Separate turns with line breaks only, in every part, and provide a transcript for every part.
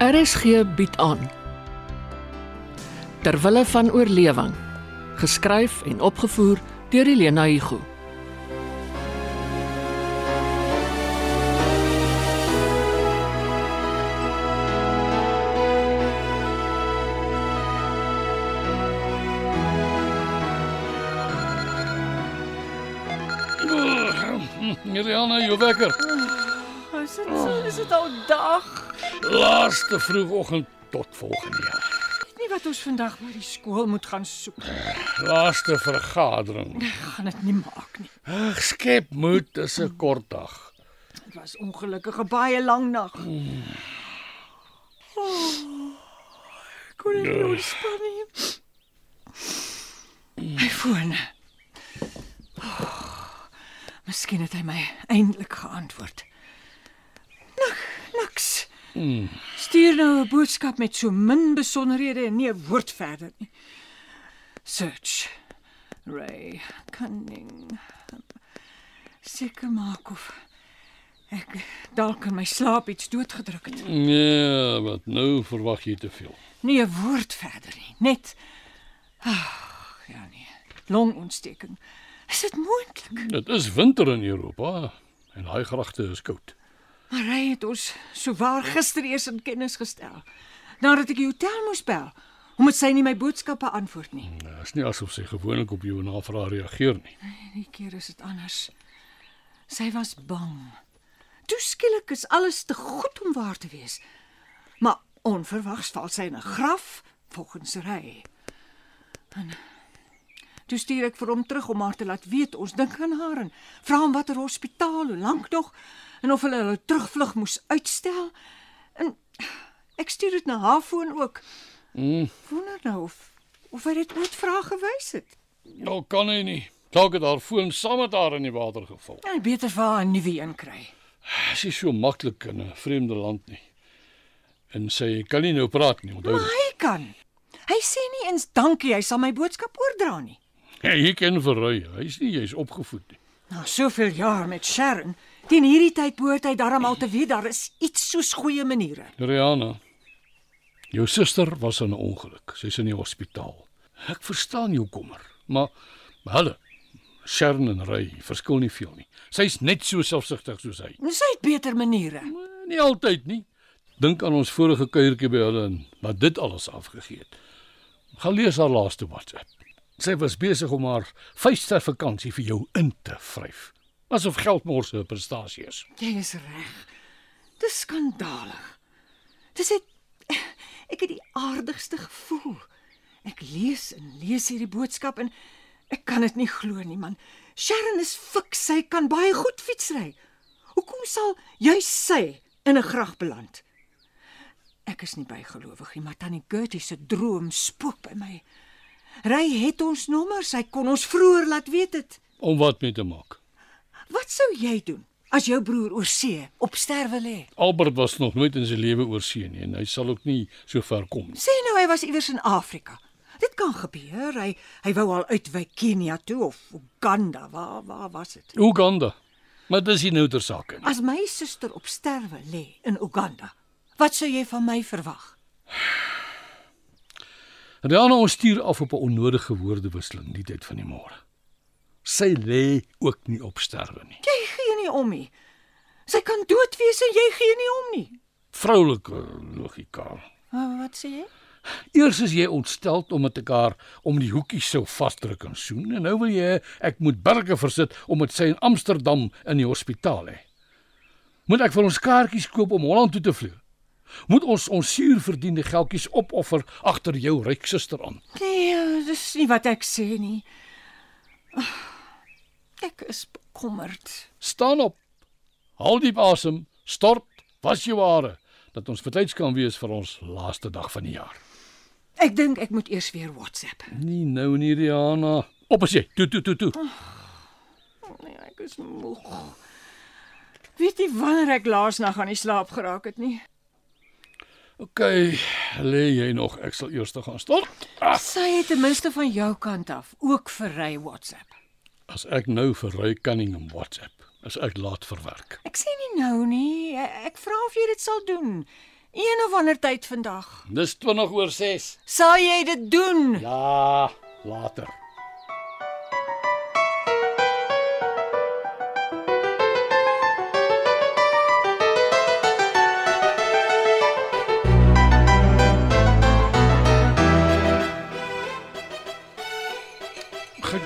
RSG bied aan Terwille van oorlewing geskryf en opgevoer deur Elena Igu
Mariana, jou wekker.
Is dit Oh, so? Is dit al dag?
Laaste vroegoggend tot volgende jaar.
Weet nie wat ons vandag by die skool moet gaan soek.
Laaste vergadering.
Gaan dit nie maak nie.
Ag, skep moed, dis 'n kort dag.
Dit was ongelukkig 'n baie lang nag. Oh, ek kon nie ontspan nie. My foon. Oh, miskien het hy my eintlik geantwoord. Nik, niks. Stuur nou 'n boodskap met so min besonderhede en nie 'n woord verder nie. Search. Ray Cunning. Seker maak of Ek dalk in my slaap iets doodgedruk het.
Nee, wat nou verwag jy te veel.
Nie 'n woord verder nie, net Ag, ja nee. Longontsteking. Is dit moontlik?
Dit is winter in Europa en daai gragte is koud.
Maar hy het ons souwaar gister eers in kennis gestel. Nadat ek die hotel moes bel, omdat sy nie my boodskappe antwoord nie.
Dit Nou, is nie asof sy gewoonlik op jou navraag reageer nie.
Hierdie keer is dit anders. Sy was bang. Toe skielik is alles te goed om waar te wees. Maar onverwags val sy in 'n graf volgens ry. En toe stuur ek vir hom terug om haar te laat weet ons dink aan haar en vra hom watter hospitaal, hoe lank nog en of hulle hulle terugvlug moes uitstel. En ek stuur dit na haar foon ook.
Mm.
Wonder nou of of hy dit ooit vra gewys het.
Nou kan hy nie. Dalk het haar foon saam met haar in die water geval.
En beter vir haar 'n nuwe een kry.
Dit is so maklik in 'n vreemde land nie. En sy kan nie nou praat nie, onthou. dit.
Maar hy kan. Hy sê nie eens dankie, hy sal my boodskap oordra nie.
Hy kan verrui. Hy's nie jy's opgevoed nie.
Na soveel jaar met Sharon, teen hierdie tyd behoort hy darm al te weet daar is iets soos goeie maniere.
Rihanna. Jou suster was in 'n ongeluk. Sy's in die hospitaal. Ek verstaan jou kommer, maar hulle Sharon en Ray verskil nie veel nie. Sy's net so selfsugtig soos hy.
En sy het beter maniere.
Maar Nie altyd nie. Dink aan ons vorige kuiertjie by hulle en wat dit alles afgegee het. Gaan lees haar laaste WhatsApp. Sy was besig om haar vyfster vakansie vir jou in te vryf. Asof geldmors 'n prestasie is.
Jy is reg. Dis skandalig. Dis het ek het die aardigste gevoel. Ek lees en lees hierdie boodskap en ek kan dit nie glo nie, man. Sharon is fiks, sy kan baie goed fietsry. Hoekom sal jy sy in 'n graf beland? Ek is nie bygelowig nie, maar tannie Gertie se droom spook by my. Ry het ons nommers, hy kon ons vroeër laat weet het.
Om wat mee te maak.
Wat sou jy doen as jou broer oor see op sterwe lê?
Albert was nog nooit in sy lewe oor see nie en hy sal ook nie so ver kom nie.
Sê nou hy was iewers in Afrika. Dit kan gebeur. Hy hy wou al uitwyk Kenia toe of Uganda. Waar waar was dit?
Uganda. Maar dis nie nou ter sake nie.
As my suster op sterwe lê in Uganda, wat sou jy van my verwag?
Rihanna ons stuur af op 'n onnodige woordewisseling die tyd van die môre. Sy lê ook nie op sterwe nie.
Jy gee nie om nie. Sy kan dood wees en jy gee nie om nie.
Vroulike logika.
Maar wat sê jy?
Eers is jy ontstel omdat ek haar om die hoekies sou vasdruk en soen en nou wil jy ek moet burger versit omdat sy in Amsterdam in die hospitaal lê. Moet ek vir ons kaartjies koop om Holland toe te vlieg? Moet ons ons suurverdiende geldjies opoffer agter jou ryk suster aan?
Nee, dis nie wat ek sê nie. Ek is bekommerd.
Staan op. Haal diep asem, stort, was jou hare dat ons betyds kan wees vir ons laaste dag van die jaar.
Ek dink ek moet eers weer WhatsApp.
Nie nou nie, Rihanna. Op as jy. Toe toe toe toe.
Nee, ek is moeg. Weet jy wanneer ek laas nag aan die slaap geraak het nie?
OK, lê jy nog. Ek sal eers gaan stort. Ah,
Sy het ten minste van jou kant af ook verry WhatsApp.
as ek nou vir Roy Cunningham WhatsApp, is ek laat vir werk.
Ek sê nie nou nie. E- Ek vra of jy dit sal doen. Een of ander tyd vandag.
Dis 20 oor 6.
Sal jy dit doen?
Ja, later.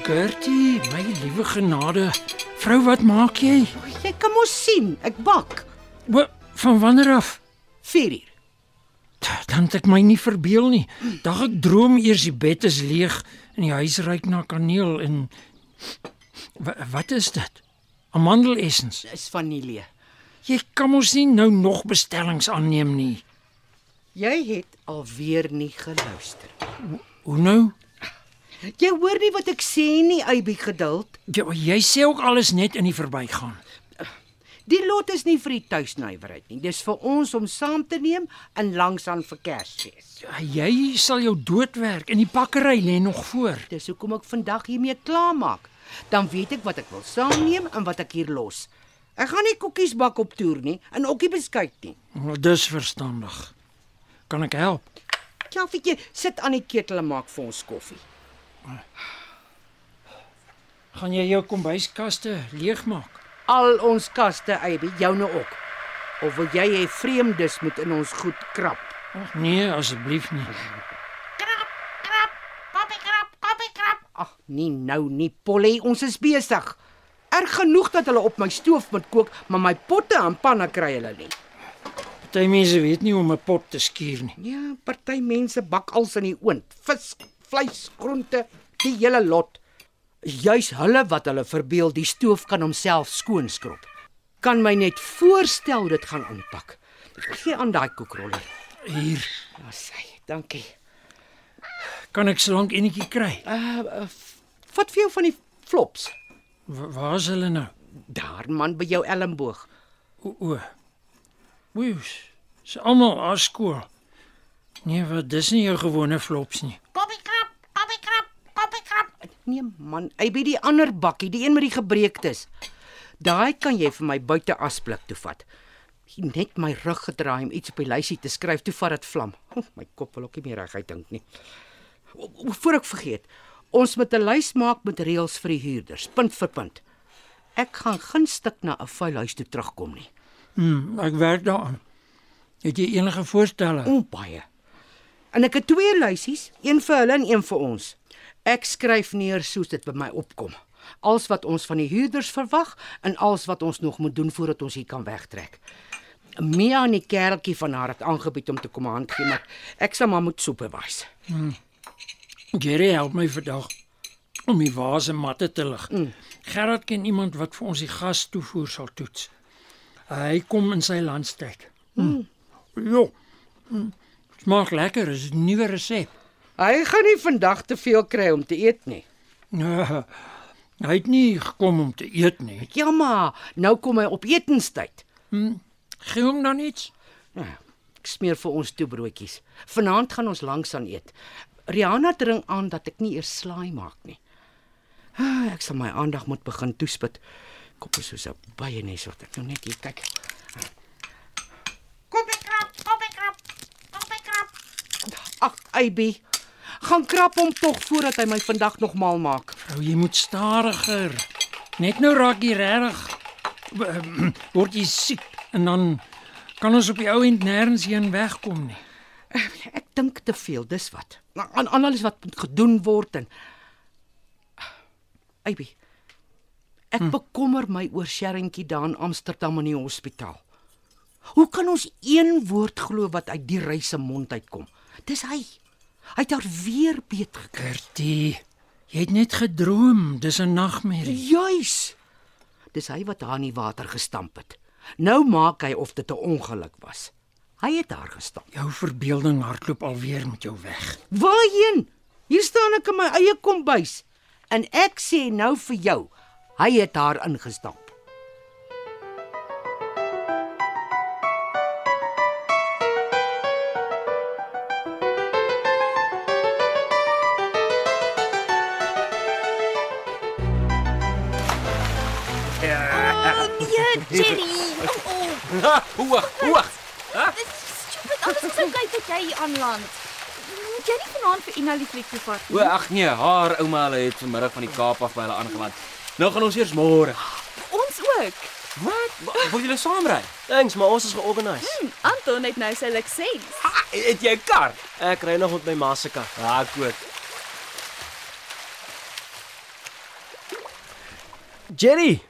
Gertie, my liewe genade. Vrou, wat maak jy?
Jy kan mos sien, ek bak.
Wa- Van wanneer af?
4 uur.
T- Dan het ek my nie verbeel nie. Dag ek droom eers die bed is leeg en die huis ruik na kaneel en Wa- wat is dit? Amandelessens.
Is vanilje.
Jy kan mos nie nou nog bestellings aanneem nie.
Jy het alweer nie geluister.
Hoe nou?
Jy hoor nie wat ek sê nie, Eybi geduld.
Jy, Ja, jy sê ook alles net in die verbygaan.
Die lot is nie vir die tuisnywerheid nie. Dis vir ons om saam te neem en langs aan vir Kersfees.
Jy sal jou doodwerk en die bakkery lê nog voor.
Dis hoekom ek vandag hiermee klaarmaak. Dan weet ek wat ek wil saamneem en wat ek hier los. Ek gaan nie koekies bak op toer nie en ook nie beskuit nie.
Nou, Dis verstandig. Kan ek help?
Jaffietjie, sit aan die ketel en maak vir ons koffie.
Gaan jy jou kombuiskaste leegmaak?
Al ons kaste, Eybi, joune ook. Of wil jy hê vreemdes moet in ons goed krap?
Ag nee, asseblief nie.
Ag, nie nou nie, Polly, ons is besig. Erg genoeg dat hulle op my stoof moet kook, maar my potte en panne kry hulle nie.
Party mense weet nie hoe om 'n pot te skuur nie.
Ja, party mense bak als in die oond, vis, vleis, groente, die hele lot. Juis hulle wat hulle verbeel die stoof kan homself skoonskrob. Kan my net voorstel hoe dit gaan aanpak. Gee aan daai koekroller.
Hier,
Ja, sy, dankie.
kan ek solank enetjie kry?
Uh, uh f- vat vir jou van die flops.
Wa- Waar is hulle nou?
Daar man by jou elmboog.
O. o. Woes. Dis almal aan skool. Nee, wat dis nie jou gewone flops nie.
Nee man, hy by die ander bakkie, die een met die gebreektes. Daai kan jy vir my buite asblik toe vat. Net my rug gedraai om iets op die lysie te skryf, toe vat dit vlam. Oh, my kop wil ook nie meer reguit dink nie. O- o- Voor ek vergeet, ons moet 'n lys maak met reëls vir die huurders, punt vir punt. Ek gaan gunstig na 'n vuil huis toe terugkom nie.
Hm, ek werk daaraan. Het jy enige voorstelle?
O, baie. En ek het twee lysies, een vir hulle en een vir ons. Ek skryf neer soos dit by my opkom. Als wat ons van die huurders verwag en als wat ons nog moet doen voordat ons hier kan wegtrek. Mia in die kerkie van haar het aangebied om te kom hand gee, maar ek sal maar moet supervise.
Jerry help my vandag om die vaas en matte te lig. Gerard ken iemand wat vir ons die gas toevoer sal toets. Hy kom in sy landstyd. Mm. Jo. Hm, Smaak lekker, is 'n nuwe resep.
Hy gaan nie vandag te veel kry om te eet nie.
Ja, hy het nie gekom om te eet nie.
Ja maar, nou kom hy op etenstyd.
Gee hom dan iets.
Nou, Ek smeer vir ons toe broodjies. Vanaand gaan ons langs aan eet. Rihanna dring aan dat ek nie eers slaai maak nie. Ah, Ek sal my aandag moet begin toespit. Kop is soos 'n byenes wat ek nou net hier kyk. Ag, Eybi. Gaan krap hom tog voordat hy my vandag nog mal maak.
Vrou, jy moet stadiger. Net nou raak jy regtig word jy siek en dan kan ons op die ou end nêrens heen wegkom nie.
Ek dink te veel, dis wat. Aan aan alles wat moet gedoen word en Eybi. Ek hm. bekommer my oor Sherrentjie daar in Amsterdam in die hospitaal. Hoe kan ons een woord glo wat uit die reis se mond uitkom? Dis hy. Hy het haar weer beet gekry.
Gertie, jy het net gedroom, dis 'n nagmerrie.
Juis. Dis hy wat haar in die water gestamp het. Nou maak hy of dit 'n ongeluk was. Hy het haar gestamp.
Jou verbeelding hardloop alweer met jou weg.
Waarheen? Hier staan ek in my eie kombuis en ek sê nou vir jou, hy het haar ingestamp.
Oh, nee, Jerry. Oh, oh.
Ha, hoog, hoog.
Stupid Dis is okay tot jy hier aan land. Moet jy nie vanaand vir Ina lieflik toe vat
O, ag nee, haar ouma hulle het vanmiddag van die Kaap af by hulle aangeland. Nou gaan ons eers môre.
Ons ook.
Wat? Wil julle saamry?
Thanks, maar ons is georganiseer.
Hm, Anton het nou sy lisensie.
Ah, het jy 'n kar?
Ek ry nog met my ma se kar.
Ja, ek ook.
Jerry,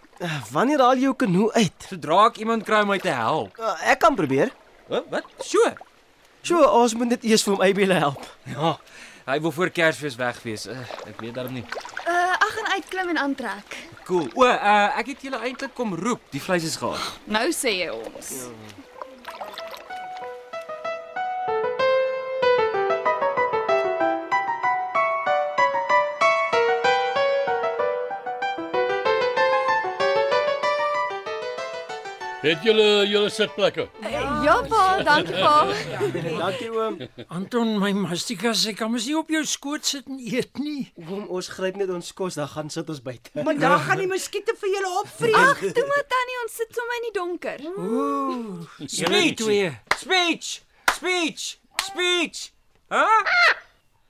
wanneer haal jy jou kanoe uit?
Sodra ek iemand kry om my te help.
Uh, Ek kan probeer.
Huh? Wat? So.
So, ons moet net eers vir hom Abby E help.
Ja. Hy wil voor Kersfees weg wees. Uh, ek weet daarom nie.
Uh ag en uit klim en aantrek.
Cool. O, uh, ek het julle eintlik kom roep. Die vleis is gaar.
Nou sê jy ons.
Ja.
Het julle julle sitplekke?
Ja, ja pa, dankie pa.
Dankie oom.
Anton, my mastika sê kan mos nie op jou skoot sit en eet nie.
Oom, ons gryp net ons kos, dan gaan sit ons buite.
Maar daar gaan die muskiete vir julle opvreet.
Ag, toe maar tannie, ons sit sommer in die donker.
Speech. Speech. Speech. Speech. Hæ?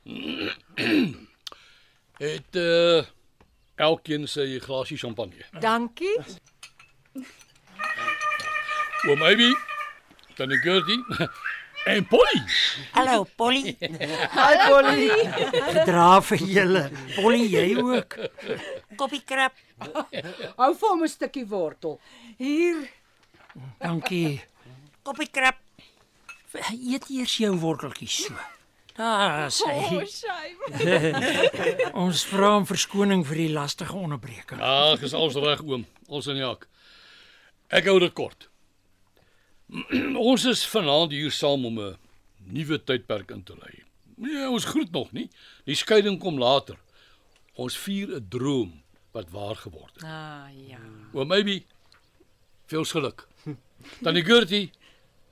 Huh?
Het uh elkeen sy glasie champagne.
Dankie.
Oom Ivy, tannie Gertie en Polly.
Hallo Polly.
Hi Polly.
Gedra vir julle. Polly, jy ook.
Koppie krap.
Hou vir hom 'n stukkie wortel.
Hier.
Dankie.
Koppie krap.
Eet eers jou worteltjies so. Daar sê
shame.
ons vra om verskoning vir die lastige onderbreking.
Ag, Ja, is alles reg oom. Ons in jak. Ek hou dit kort. ons is vanaand hier saam om 'n nuwe tydperk in te lei. Nee, ons groet nog nie. Die skeiding kom later. Ons vier 'n droom wat waar geword het.
Ah ja.
Oom Ivy, veel geluk. Tannie Gertie,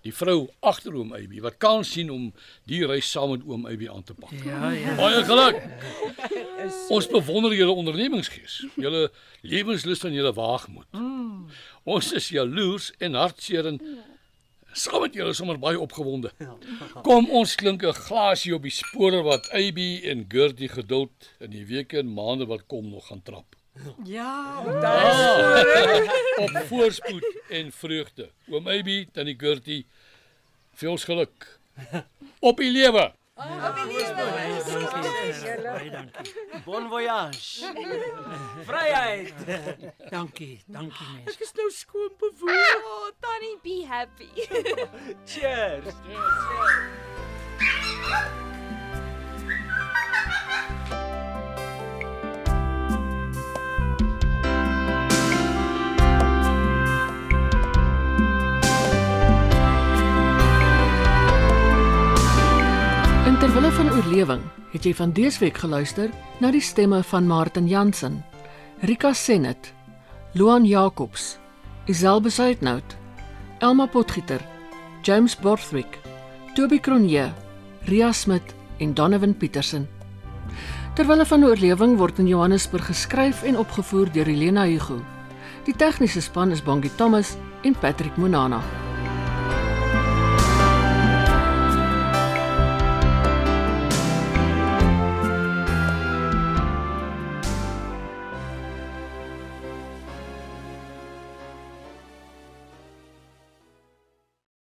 die vrou agter oom Ivy wat kan sien om die reis saam met oom Ivy aan te pak.
Ja, ja.
Baie geluk. Ons bewonder julle ondernemingsgees, julle lewenslus en julle waagmoed. Ons is jaloers en hartseer en saam met julle sommer baie opgewonde. Kom ons klink 'n glasie op die spore wat AB en Gertie geduld in die weke en maande wat kom nog gaan trap.
Ja,
Op voorspoed en vreugde. Oom AB, tannie Gertie, veel geluk. Op die lewe.
Bon voyage.
Vryheid.
Dankie, dankie mense.
Dis nou skoon bewoon.
Oh, tannie, be happy.
Cheers.
Interwille van oorlewing het jy van deesweek geluister na die stemme van Martin Jansen, Rika Senet, Loan Jacobs, Isel Besuitnout, Elma Potgieter, James Borthwick, Toby Cronje, Ria Smit en Donovan Petersen. Terwille van oorlewing word in Johannesburg geskryf en opgevoer deur Helena Hugo. Die tegniese span is Bongie Thomas en Patrick Monana.